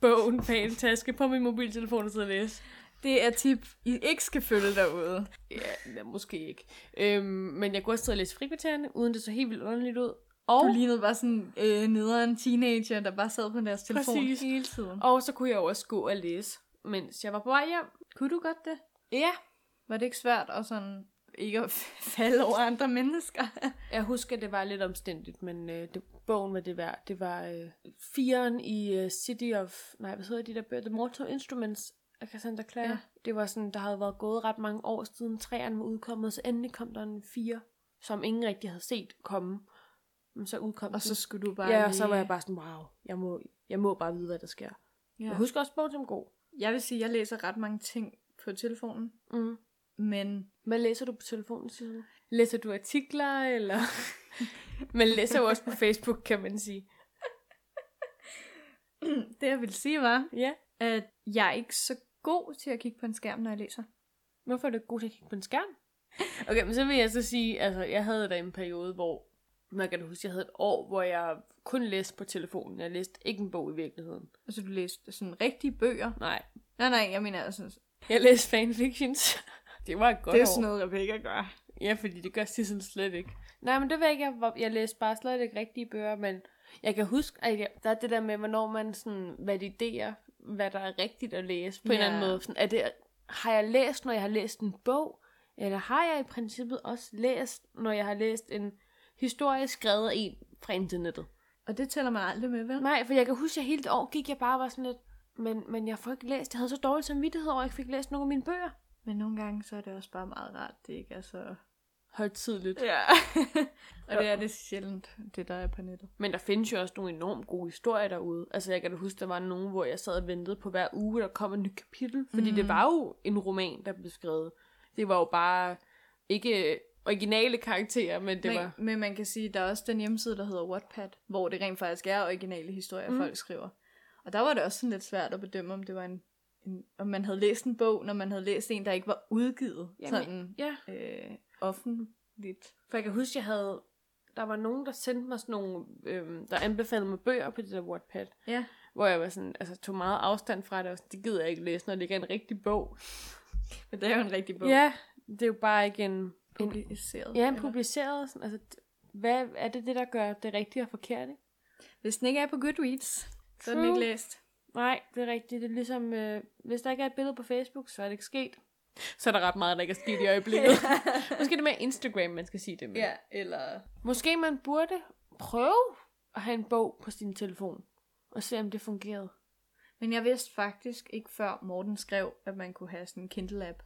B: bogen bag en taske på min mobiltelefon og sidde og læse.
C: Det er tip, I ikke skal følge derude.
B: Ja, ja måske ikke. Øhm, men jeg kunne også sidde og læse frikvartererne, uden det så helt vildt underligt ud. Og,
C: Du lignede bare sådan øh, nederen teenager, der bare sad på deres telefon
B: Præcis.
C: hele tiden.
B: og så kunne jeg jo også gå og læse, mens jeg var på vej hjem.
C: Kunne du godt det?
B: Ja,
C: Var det ikke svært at sådan ikke at falde over andre mennesker?
B: jeg husker, det var lidt omstændigt, men øh, det, bogen var det værd. Det var øh, firen i øh, City of... Nej, hvad hedder de der bøger? The Mortal Instruments af Cassandra Clare. Ja.
C: Ja.
B: Det var sådan, der havde været gået ret mange år siden træerne var udkommet, så endelig kom der en fire, som ingen rigtig havde set komme. Men så udkom
C: og
B: den.
C: så skulle du bare
B: Ja, og
C: lige-
B: så var jeg bare sådan, wow, jeg må, jeg må bare vide, hvad der sker. Ja. Jeg
C: Ja.
B: husker også bogen som god.
C: Jeg vil sige, at jeg læser ret mange ting på telefonen,
B: Mm.
C: men
B: Hvad læser du på telefonen, siger du? Læser du artikler, eller... man læser jo også på Facebook, kan man sige.
C: Det jeg ville sige var,
B: Ja.
C: at jeg er ikke så god til at kigge på en skærm, når jeg læser.
B: Hvorfor er du ikke god til at kigge på en skærm? Okay, men så vil jeg så sige, altså jeg havde da en periode, hvor, man kan da huske, jeg havde et år, hvor jeg kun læste på telefonen. Jeg læste ikke en bog i virkeligheden.
C: Altså du læste sådan rigtige bøger.
B: Nej,
C: Nej, nej, jeg mener altså... Det
B: jeg læste fanfictions. Det var et godt år.
C: noget, Rebecca gør.
B: Ja, fordi det gør Sissel slet ikke. Nej, men det ved jeg ikke. Jeg, var- jeg læste bare slet ikke rigtige bøger, men jeg kan huske, at jeg, der er det der med, hvornår man sådan validerer, hvad der er rigtigt at læse på en
C: Ja.
B: eller anden måde. Sådan, er det, har jeg læst, når jeg har læst en bog? Eller har jeg i princippet også læst, når jeg har læst en historie skrevet af en fra internettet?
C: Og det tæller man aldrig med, vel?
B: Nej, for jeg kan huske, at jeg hele det år gik jeg bare og var sådan lidt, men, men jeg får ikke læst. Jeg havde så dårlig samvittighed over, at jeg ikke fik læst nogen af mine bøger.
C: Men nogle gange, så er det også bare meget rart, det ikke er så...
B: Højtidligt.
C: Ja. og det er det sjældent, det der er på nettet.
B: Men der findes jo også nogle enormt gode historier derude. Altså jeg kan da huske, der var nogen, hvor jeg sad og ventede på hver uge, der kom et nyt kapitel. Fordi mm. det var jo en roman, der blev skrevet. Det var jo bare ikke øh, originale karakterer, men det
C: men,
B: var...
C: men man kan sige, der er også den hjemmeside, der hedder Wattpad, hvor det rent faktisk er originale historier, mm. folk skriver. Og der var det også sådan lidt svært at bedømme, om det var en, en om man havde læst en bog, når man havde læst en, der ikke var udgivet
B: Jamen,
C: sådan
B: Ja.
C: øh, offentligt.
B: For jeg kan huske, jeg havde... Der var nogen, der sendte mig sådan nogle... Øhm, der anbefalede mig bøger på det der Wattpad.
C: Ja.
B: Hvor jeg var sådan, altså, tog meget afstand fra det. Og sådan, det gider jeg ikke læse, når det ikke er en rigtig bog.
C: Men det er jo en rigtig bog.
B: Ja, det er jo bare ikke en... en
C: Publiceret.
B: ja, en
C: eller-
B: publiceret... Sådan, altså, d- hvad er det det, der gør det rigtige og forkerte?
C: Hvis den ikke er på Goodreads, så er den
B: True.
C: ikke læst.
B: Nej, det er rigtigt. Det er ligesom, øh, hvis der ikke er et billede på Facebook, så er det ikke sket. Så er der ret meget, der ikke er sket i øjeblikket. Måske er det mere Instagram, man skal sige det med.
C: ja, eller...
B: Måske man burde prøve at have en bog på sin telefon, og se om det fungerede.
C: Men jeg vidste faktisk ikke før Morten skrev, at man kunne have sådan en Kindle-app.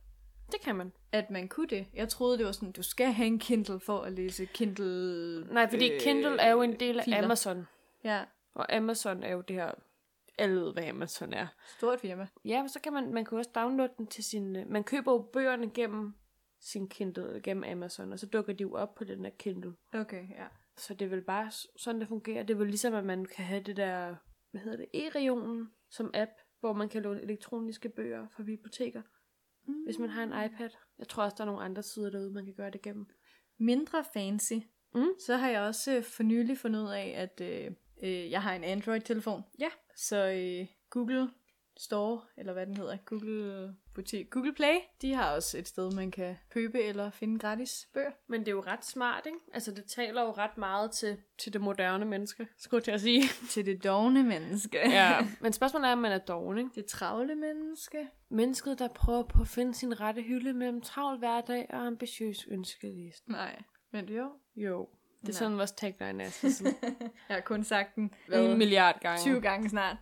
B: Det kan man.
C: At man kunne det. Jeg troede, det var sådan, du skal have en Kindle for at læse Kindle...
B: Nej, fordi øh, Kindle er jo en del af
C: filer.
B: Amazon,
C: Ja,
B: og Amazon er jo det her, alle ved, hvad Amazon er.
C: stort firma.
B: Ja, men så kan man, man kan jo også downloade den til sin, øh, man køber jo bøgerne gennem sin Kindle, eller gennem Amazon, og så dukker de jo op på den der Kindle.
C: Okay, ja.
B: Så det er vel bare s- sådan, det fungerer. Det er vel ligesom, at man kan have det der, hvad hedder det, e-regionen som app, hvor man kan låne elektroniske bøger fra biblioteker.
C: Mm.
B: hvis man har en iPad. Jeg tror også, der er nogle andre sider derude, man kan gøre det gennem.
C: mindre fancy,
B: Mm.
C: så har jeg også øh, for nylig fundet ud af, at øh, øh, jeg har en Android-telefon.
B: Ja.
C: Så øh, Google Store, eller hvad den hedder, Google Butik, Google Play, de har også et sted, man kan købe eller finde gratis bøger.
B: Men det er jo ret smart, ikke? Altså, det taler jo ret meget til, til det moderne menneske, skulle jeg til at sige.
C: Til det dogne menneske.
B: Men spørgsmålet er, om man er doven, ikke?
C: det travle menneske.
B: Mennesket, der prøver på at finde sin rette hylde mellem travl hverdag og ambitiøs ønskeliste.
C: Nej, men jo.
B: Jo. Det er
C: Nej.
B: sådan, vores tagline er. Så sådan
C: Jeg har kun sagt den
B: en milliard gange.
C: 20 gange snart.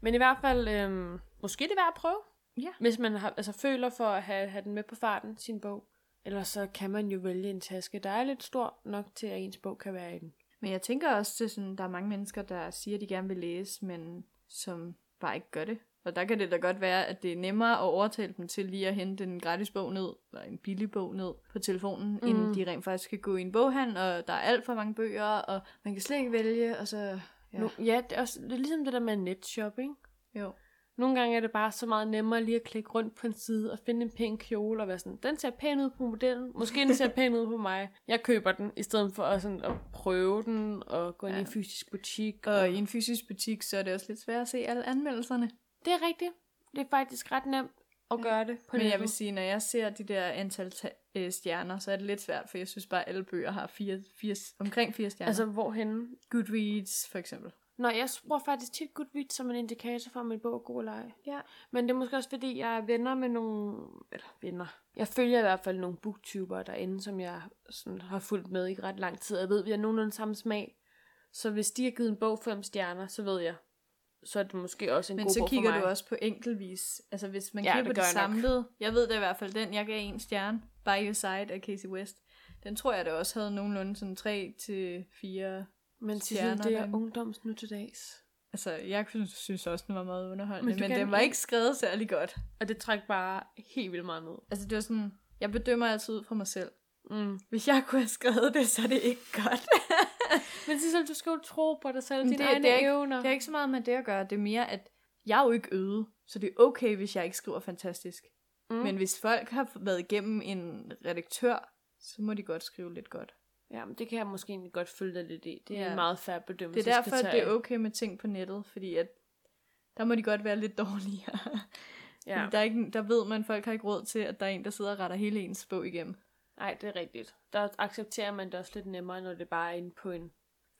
B: Men i hvert fald, øhm, måske det er værd at prøve.
C: Ja.
B: Hvis man har, altså, føler for at have, have den med på farten, sin bog. Ellers så kan man jo vælge en taske, der er lidt stor nok til, at ens bog kan være i den.
C: Men jeg tænker også, til sådan, der er mange mennesker, der siger, at de gerne vil læse, men som bare ikke gør det. Og der kan det da godt være, at det er nemmere at overtale dem til lige at hente en gratis bog ned, eller en billig bog ned på telefonen, mm.
B: Mm.
C: inden de rent faktisk skal gå i en boghandel, og der er alt for mange bøger, og man kan slet ikke vælge, og så... Ja,
B: Ja, nu, ja det, er også, det er ligesom det der med netshopping.
C: jo.
B: Nogle gange er det bare så meget nemmere lige at klikke rundt på en side og finde en pæn kjole og være sådan, den ser pæn ud på modellen, måske den ser pæn ud på mig. Jeg køber den, i stedet for at, sådan, at prøve den og gå ind ja. i en
C: Ja.
B: fysisk butik.
C: Og i en fysisk butik, så er det også lidt svært at se alle anmeldelserne.
B: Det er rigtigt. Det er faktisk ret nemt at
C: Ja.
B: gøre det på
C: Men jeg
B: nettet.
C: vil sige, når jeg ser de der antal ta- øh, stjerner, så er det lidt svært, for jeg synes bare, at alle bøger har fire, fire, omkring fire stjerner.
B: Altså,
C: Altså
B: hvorhenne?
C: Goodreads, for eksempel.
B: Nå, jeg bruger faktisk tit Goodreads som en indikator for, om en bog er god eller ej.
C: Ja.
B: Men det er måske også, fordi jeg er venner med nogle... Eller venner. Jeg følger i hvert fald nogle booktuber derinde, som jeg sådan har fulgt med i ret lang tid. Jeg ved, vi har nogenlunde samme smag. Så hvis de har givet en bog fem stjerner, så ved jeg, så er det måske også en
C: Men
B: god
C: så
B: bog
C: kigger
B: for mig.
C: du også på enkeltvis. Altså hvis man
B: Ja,
C: ja,
B: det
C: kigger på
B: gør
C: det
B: jeg nok.
C: samlede. Jeg ved da i hvert fald den, jeg gav en stjerne. By Your Side af Casey West. Den tror jeg da også havde nogenlunde sådan 3 til 4.
B: Men til
C: stjerner
B: det er
C: derinde.
B: ungdoms nu til dags.
C: Altså jeg synes, synes også, den var meget underholdende.
B: Men du
C: Men, men
B: kan
C: den var
B: ikke-
C: ikke skrevet særlig godt.
B: Og det trækker bare helt vildt meget ned.
C: Altså det var sådan, jeg bedømmer altid ud fra mig selv.
B: Mm.
C: Hvis jeg kunne have skrevet det, så er det ikke godt.
B: Men Sissel, du skal jo tro på dig selv,
C: Men
B: dine
C: det-
B: egne
C: det er ikke-
B: evner.
C: det er ikke så meget med det at gøre. Det er mere, at jeg er jo ikke øde. Så det er okay, hvis jeg ikke skriver fantastisk.
B: Mm.
C: Men hvis folk har været igennem en redaktør, så må de godt skrive lidt godt.
B: Ja, men det kan jeg måske egentlig godt følge dig lidt i. Det er ja.
C: Ja.
B: en meget færre bedømmelse.
C: Det er derfor,
B: at
C: at det er okay med ting på nettet, fordi at der må de godt være lidt dårligere.
B: Ja.
C: Fordi Der, er ikke, der ved man, at folk har ikke råd til, at der er en, der sidder og retter hele ens bog igennem.
B: Nej, det er rigtigt. Der accepterer man det også lidt nemmere, når det bare er inde på en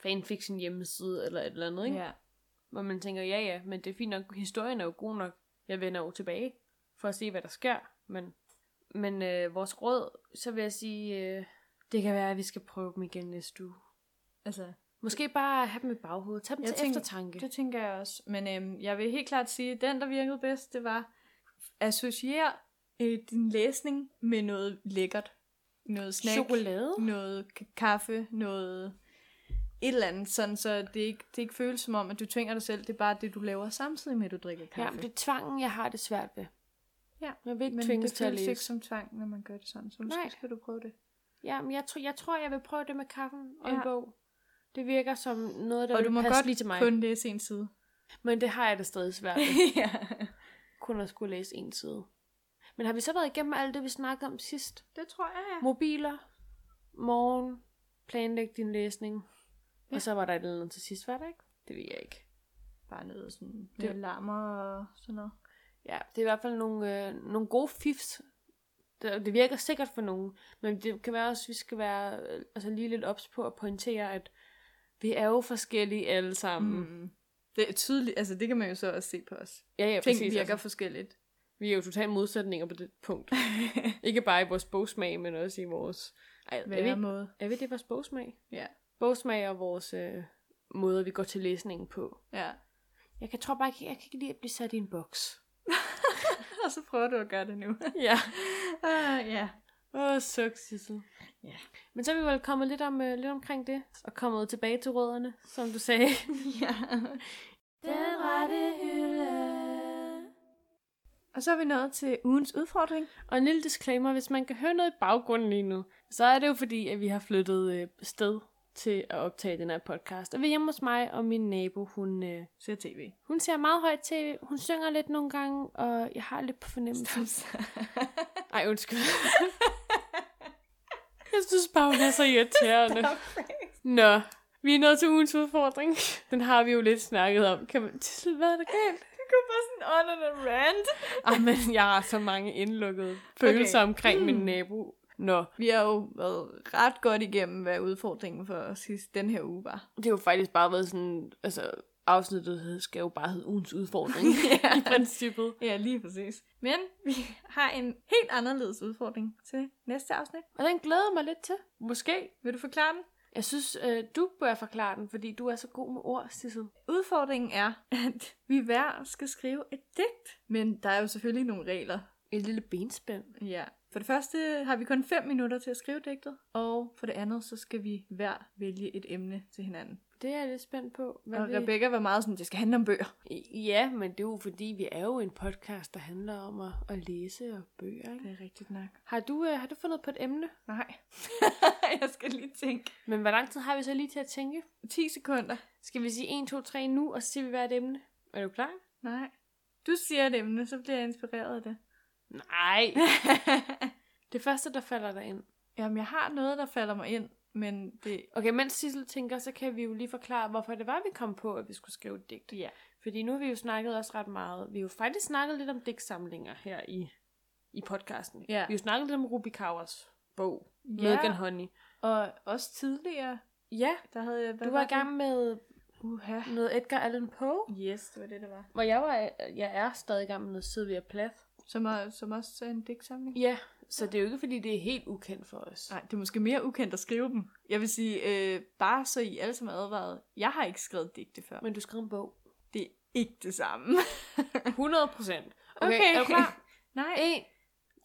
B: fanfiction hjemmeside eller et eller andet, ikke?
C: Ja.
B: Hvor man tænker, ja ja, men det er fint nok, historien er jo god nok. Jeg vender jo tilbage for at se, hvad der sker. Men, men øh, vores råd, så vil jeg sige, øh, det kan være, at vi skal prøve dem igen næste uge.
C: Altså,
B: Måske bare have dem i baghovedet. Tag dem
C: Jeg
B: til
C: tænker-
B: eftertanke.
C: Det tænker jeg også. Men øhm, jeg vil helt klart sige, at den, der virkede bedst, det var associer øh, din læsning med noget lækkert. Noget snack.
B: Chokolade?
C: Noget k- kaffe. Noget et eller andet, sådan, så det ikke, det ikke føles som om, at du tvinger dig selv. Det er bare det, du laver samtidig med, at du drikker
B: Ja,
C: kaffe.
B: men det er tvangen, jeg har det svært ved.
C: Ja,
B: Jeg vil ikke
C: men
B: tvinges
C: det
B: til at
C: føles
B: læse.
C: ikke som tvang, når man gør det sådan. Så måske
B: Nej.
C: Nej. skal du prøve det.
B: Ja, men jeg, tror, jeg tror, jeg vil prøve det med kaffen og en
C: Ja.
B: bog. Det virker som noget, der
C: Og du
B: vil
C: må
B: passe
C: godt
B: lige til mig.
C: kun læse en side.
B: Men det har jeg da stadig svært ved.
C: ja.
B: kun at skulle læse en side. Men har vi så været igennem alt det, vi snakkede om sidst?
C: Det tror jeg, ja.
B: Mobiler, morgen, planlæg din læsning. Ja.
C: Ja.
B: Og så var der et eller andet til sidst, var der ikke? Det ved jeg ikke.
C: Bare noget sådan,
B: Det-
C: det larmer og sådan noget.
B: Ja, det er i hvert fald nogle, øh, nogle gode fifs. Det, det virker sikkert for nogen, men det kan være også, at vi skal være øh, altså lige lidt ops på at pointere, at vi er jo forskellige alle sammen. Mm.
C: Mm. Det er tydeligt, altså det kan man jo så også se på os.
B: Ja, ja,
C: Ja, Ting
B: præcis.
C: præcis, virker
B: Altså,
C: altså. forskelligt.
B: vi er jo totalt modsætninger på det punkt. ikke bare i vores bogsmag, men også i vores... Ej, er vi,
C: måde.
B: er vi det vores bogsmag?
C: Ja.
B: bogsmag og vores øh, måder, vi går til læsningen på.
C: ja.
B: Jeg kan, tror bare ikke, jeg kan ikke lide at blive sat i en boks.
C: Og så prøver du at gøre det nu.
B: ja.
C: uh, ja.
B: Åh, suk, Sissel.
C: Ja.
B: Men så er vi vel kommet lidt, om, øh, lidt omkring det, og kommet tilbage til rødderne, som du sagde.
C: ja.
A: Den rette hylde.
C: Og så er vi nået til ugens udfordring.
B: og en lille disclaimer, hvis man kan høre noget i baggrunden lige nu, så er det jo fordi, at vi har flyttet øh, sted til at optage den her podcast. Og vi er hjemme hos mig, og min nabo, hun, øh,
C: Ser tv.
B: hun ser meget højt tv, hun synger lidt nogle gange, og jeg har lidt på fornemmelsen. Ej, undskyld. jeg synes bare, hun er så irriterende. Nå, vi er nået til ugens udfordring. Den har vi jo lidt snakket om. Kan man... Tissel, hvad er der galt?
C: det går bare sådan on and a rant.
B: Ej, men jeg har så mange indlukkede følelser okay. omkring mm. min nabo. Nå,
C: Vi har jo været ret godt igennem, hvad udfordringen for sidste den her uge var.
B: det har jo faktisk bare været sådan... Altså, afsnittet hed- skal jo bare hedde ugens udfordring. I princippet.
C: Ja, lige præcis. Men vi har en helt anderledes udfordring til næste afsnit.
B: Og den glæder jeg mig lidt til. Måske.
C: Vil du forklare den?
B: Jeg synes, øh, du bør forklare den, fordi du er så god med ord, Sissel.
C: Udfordringen er, at vi hver skal skrive et digt. Men der er jo selvfølgelig nogle regler.
B: Et lille benspænd.
C: Ja. For det første har vi kun 5 minutter til at skrive digtet, og for det andet, så skal vi hver vælge et emne til hinanden.
B: Det er jeg lidt spændt på. Hvad
C: og
B: vi-
C: Rebecca var meget sådan, det skal handle om bøger.
B: Ja, men det er jo fordi, vi er jo en podcast, der handler om at, at læse og bøger. Ikke?
C: Det er rigtigt nok.
B: Har, du, øh, har du fundet på et emne?
C: Nej. jeg skal lige tænke.
B: Men hvor lang tid har vi så lige til at tænke?
C: 10 sekunder.
B: Skal vi sige 1, 2, 3 nu, og så siger vi hvert emne? Er du klar?
C: Nej. Du siger et emne, så bliver jeg inspireret af det.
B: Nej. det første, der falder dig ind.
C: Jamen, jeg har noget, der falder mig ind, men det...
B: Okay, mens Sissel tænker, så kan vi jo lige forklare, hvorfor det var, vi kom på, at vi skulle skrive et digt.
C: Ja.
B: Fordi nu har vi jo snakket også ret meget. Vi har jo faktisk snakket lidt om digtsamlinger her i, i podcasten. Vi
C: Ja.
B: har jo snakket lidt om Ruby Kauers bog,
C: Ja.
B: Milk and Honey.
C: Og også tidligere,
B: Ja,
C: der havde jeg...
B: Du var i gang med
C: Uha.
B: noget Edgar Allan Poe,
C: Yes, det var det, det var.
B: hvor jeg, var, jeg er stadig i gang med noget Sylvia Plath.
C: Som, er, som også er en digtsamling?
B: Ja, så det er jo ikke, fordi det er helt ukendt for os.
C: Nej, det er måske mere ukendt at skrive dem. Jeg vil sige, øh, bare så I alle sammen er advaret, jeg har ikke skrevet digte før.
B: Men du skrev en bog.
C: Det er ikke det samme.
B: 100 procent. Okay, okay, er du klar?
C: Nej.
B: 1,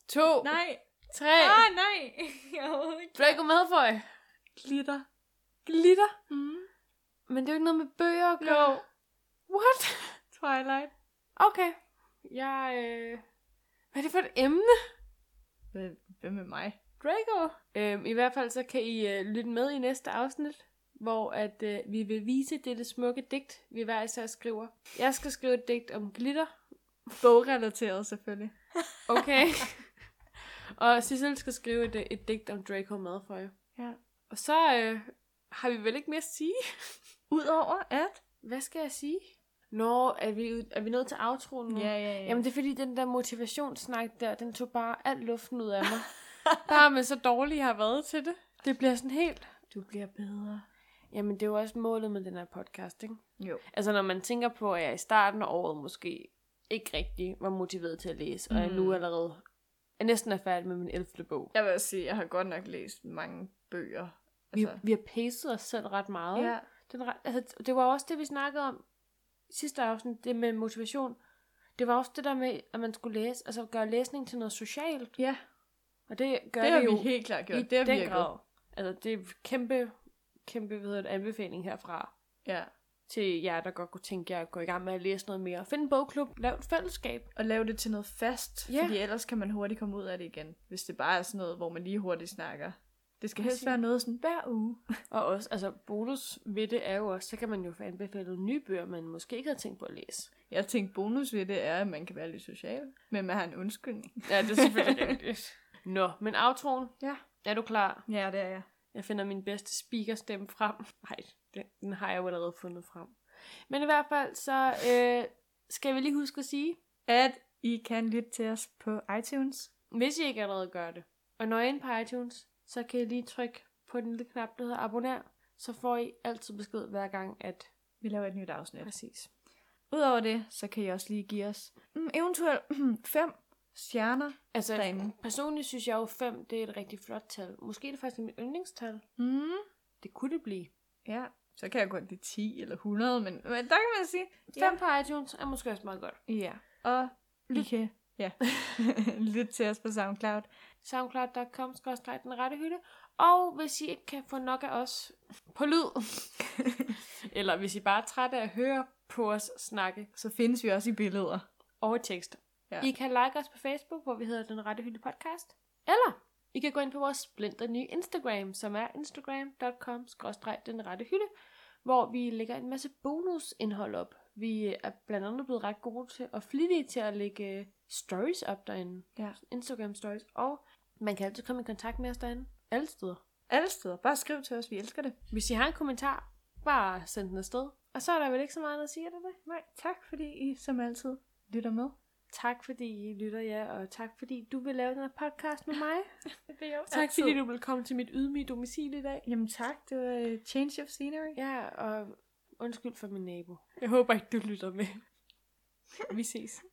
B: 2,
C: Nej.
B: 3.
C: Ah, nej. Jeg overhovedet ikke.
B: Draco Malfoy.
C: Glitter.
B: Glitter.
C: Mm.
B: Men det er jo ikke noget med bøger at gøre.
C: Jo.
B: What?
C: Twilight.
B: Okay. Jeg, øh... Hvad er det for et emne?
C: Hvad, hvad med mig?
B: Draco. Øhm, I hvert fald så kan I øh, lytte med i næste afsnit, hvor at øh, vi vil vise dette smukke digt, vi hver især skriver. Jeg skal skrive et digt om glitter.
C: Bogrelateret selvfølgelig.
B: Okay. og Sissel skal skrive et, øh, et digt om Draco Malfoy.
C: Ja.
B: Og så øh, har vi vel ikke mere at sige.
C: Udover at...
B: Hvad skal jeg sige? Nå, er vi, ud- er vi nået til outroen nu?
C: ja, ja.
B: Jamen det er fordi, den der motivationssnak der, den tog bare al luften ud af mig. bare med så dårlig jeg har været til det. Det bliver sådan helt...
C: du bliver bedre.
B: Jamen, det er jo også målet med den her podcast, ikke?
C: Jo.
B: Altså, når man tænker på, at jeg i starten af året måske ikke rigtig var motiveret til at læse, mm. og jeg
C: Mm.
B: nu allerede jeg næsten er færdig med min 11. bog.
C: Jeg vil også sige, jeg har godt nok læst mange bøger.
B: Altså.
C: Altså,
B: Vi, vi har pacet os selv ret meget.
C: ja.
B: Den, re- altså, det var også det, vi snakkede om sidste afsnit, det med motivation. Det var også det der med, at man skulle læse, altså gøre læsning til noget socialt.
C: Ja,
B: Og det gør
C: det har
B: det jo
C: vi helt klart gjort.
B: i
C: det har
B: den
C: virket.
B: grad. Altså, det er kæmpe, kæmpe hvad hedder det, anbefaling herfra
C: Ja.
B: til jer, der godt kunne tænke jer at gå i gang med at læse noget mere. Find en bogklub, lav et fællesskab.
C: Og lave det til noget fast,
B: Ja.
C: ja. fordi ellers kan man hurtigt komme ud af det igen. Hvis det bare er sådan noget, hvor man lige hurtigt snakker. Det skal helst
B: Præcis.
C: være noget sådan hver uge.
B: Og også, altså bonus ved det er jo også, så kan man jo få anbefalet nye bøger, man måske ikke havde tænkt på at læse.
C: Jeg tænkte, bonus ved det er, at man kan være lidt social, men man har en undskyldning.
B: Ja, det er selvfølgelig rigtigt. Nå, men aftroen,
C: Ja.
B: er du klar?
C: Ja, det er jeg.
B: Jeg finder min bedste speakerstemme frem. Nej, den, den har jeg jo allerede fundet frem. Men i hvert fald, så øh, skal vi lige huske at sige,
C: At I kan lytte til os på iTunes.
B: hvis I ikke allerede gør det. Og når I er inde på iTunes, så kan I lige trykke på den lille knap, der hedder abonner, så får I altid besked hver gang, at
C: Vi laver et nyt afsnit.
B: Præcis.
C: Udover det, så kan I også lige give os mm, eventuelt mm, fem stjerner
B: Altså,
C: derinde.
B: personligt synes jeg jo 5, det er et rigtig flot tal. Måske er det faktisk mit yndlingstal.
C: Mm.
B: Det kunne det blive.
C: Ja, så kan jeg godt lide 10 eller 100, men, men der kan man sige
B: 5 ja. på iTunes er måske også meget godt.
C: Ja, og
B: Lyt.
C: I kan ja. lytte til os på SoundCloud.
B: Soundcloud.com skal også den rette hylde. Og hvis I ikke kan få nok af os på lyd, eller hvis I bare er trætte af at høre på os snakke
C: Så findes vi også i billeder.
B: over tekst. Ja.
C: Ja.
B: I kan like os på Facebook, hvor vi hedder Den Rette Hylde Podcast. Eller I kan gå ind på vores splinter nye Instagram, som er instagram.com den rette hylde, hvor vi lægger en masse bonusindhold op. Vi øh, er blandt andet blevet ret gode til og flittige til at lægge øh, stories op derinde.
C: Ja.
B: Instagram stories. Og man kan altid komme i kontakt med os derinde. Alle steder.
C: Alle steder. Bare skriv til os, vi elsker det.
B: Hvis I har en kommentar, bare send den afsted. Og så er der vel ikke så meget at sige, er der det?
C: Nej, tak fordi I som altid lytter med.
B: Tak fordi I lytter, ja, og tak fordi du vil lave den her podcast med mig.
C: Det er jo
B: Tak fordi du vil komme til mit ydmyge domicil i dag.
C: Jamen tak, det var øh, Change of Scenery.
B: Ja, og undskyld for min nabo. Jeg håber ikke, du lytter med. Vi ses.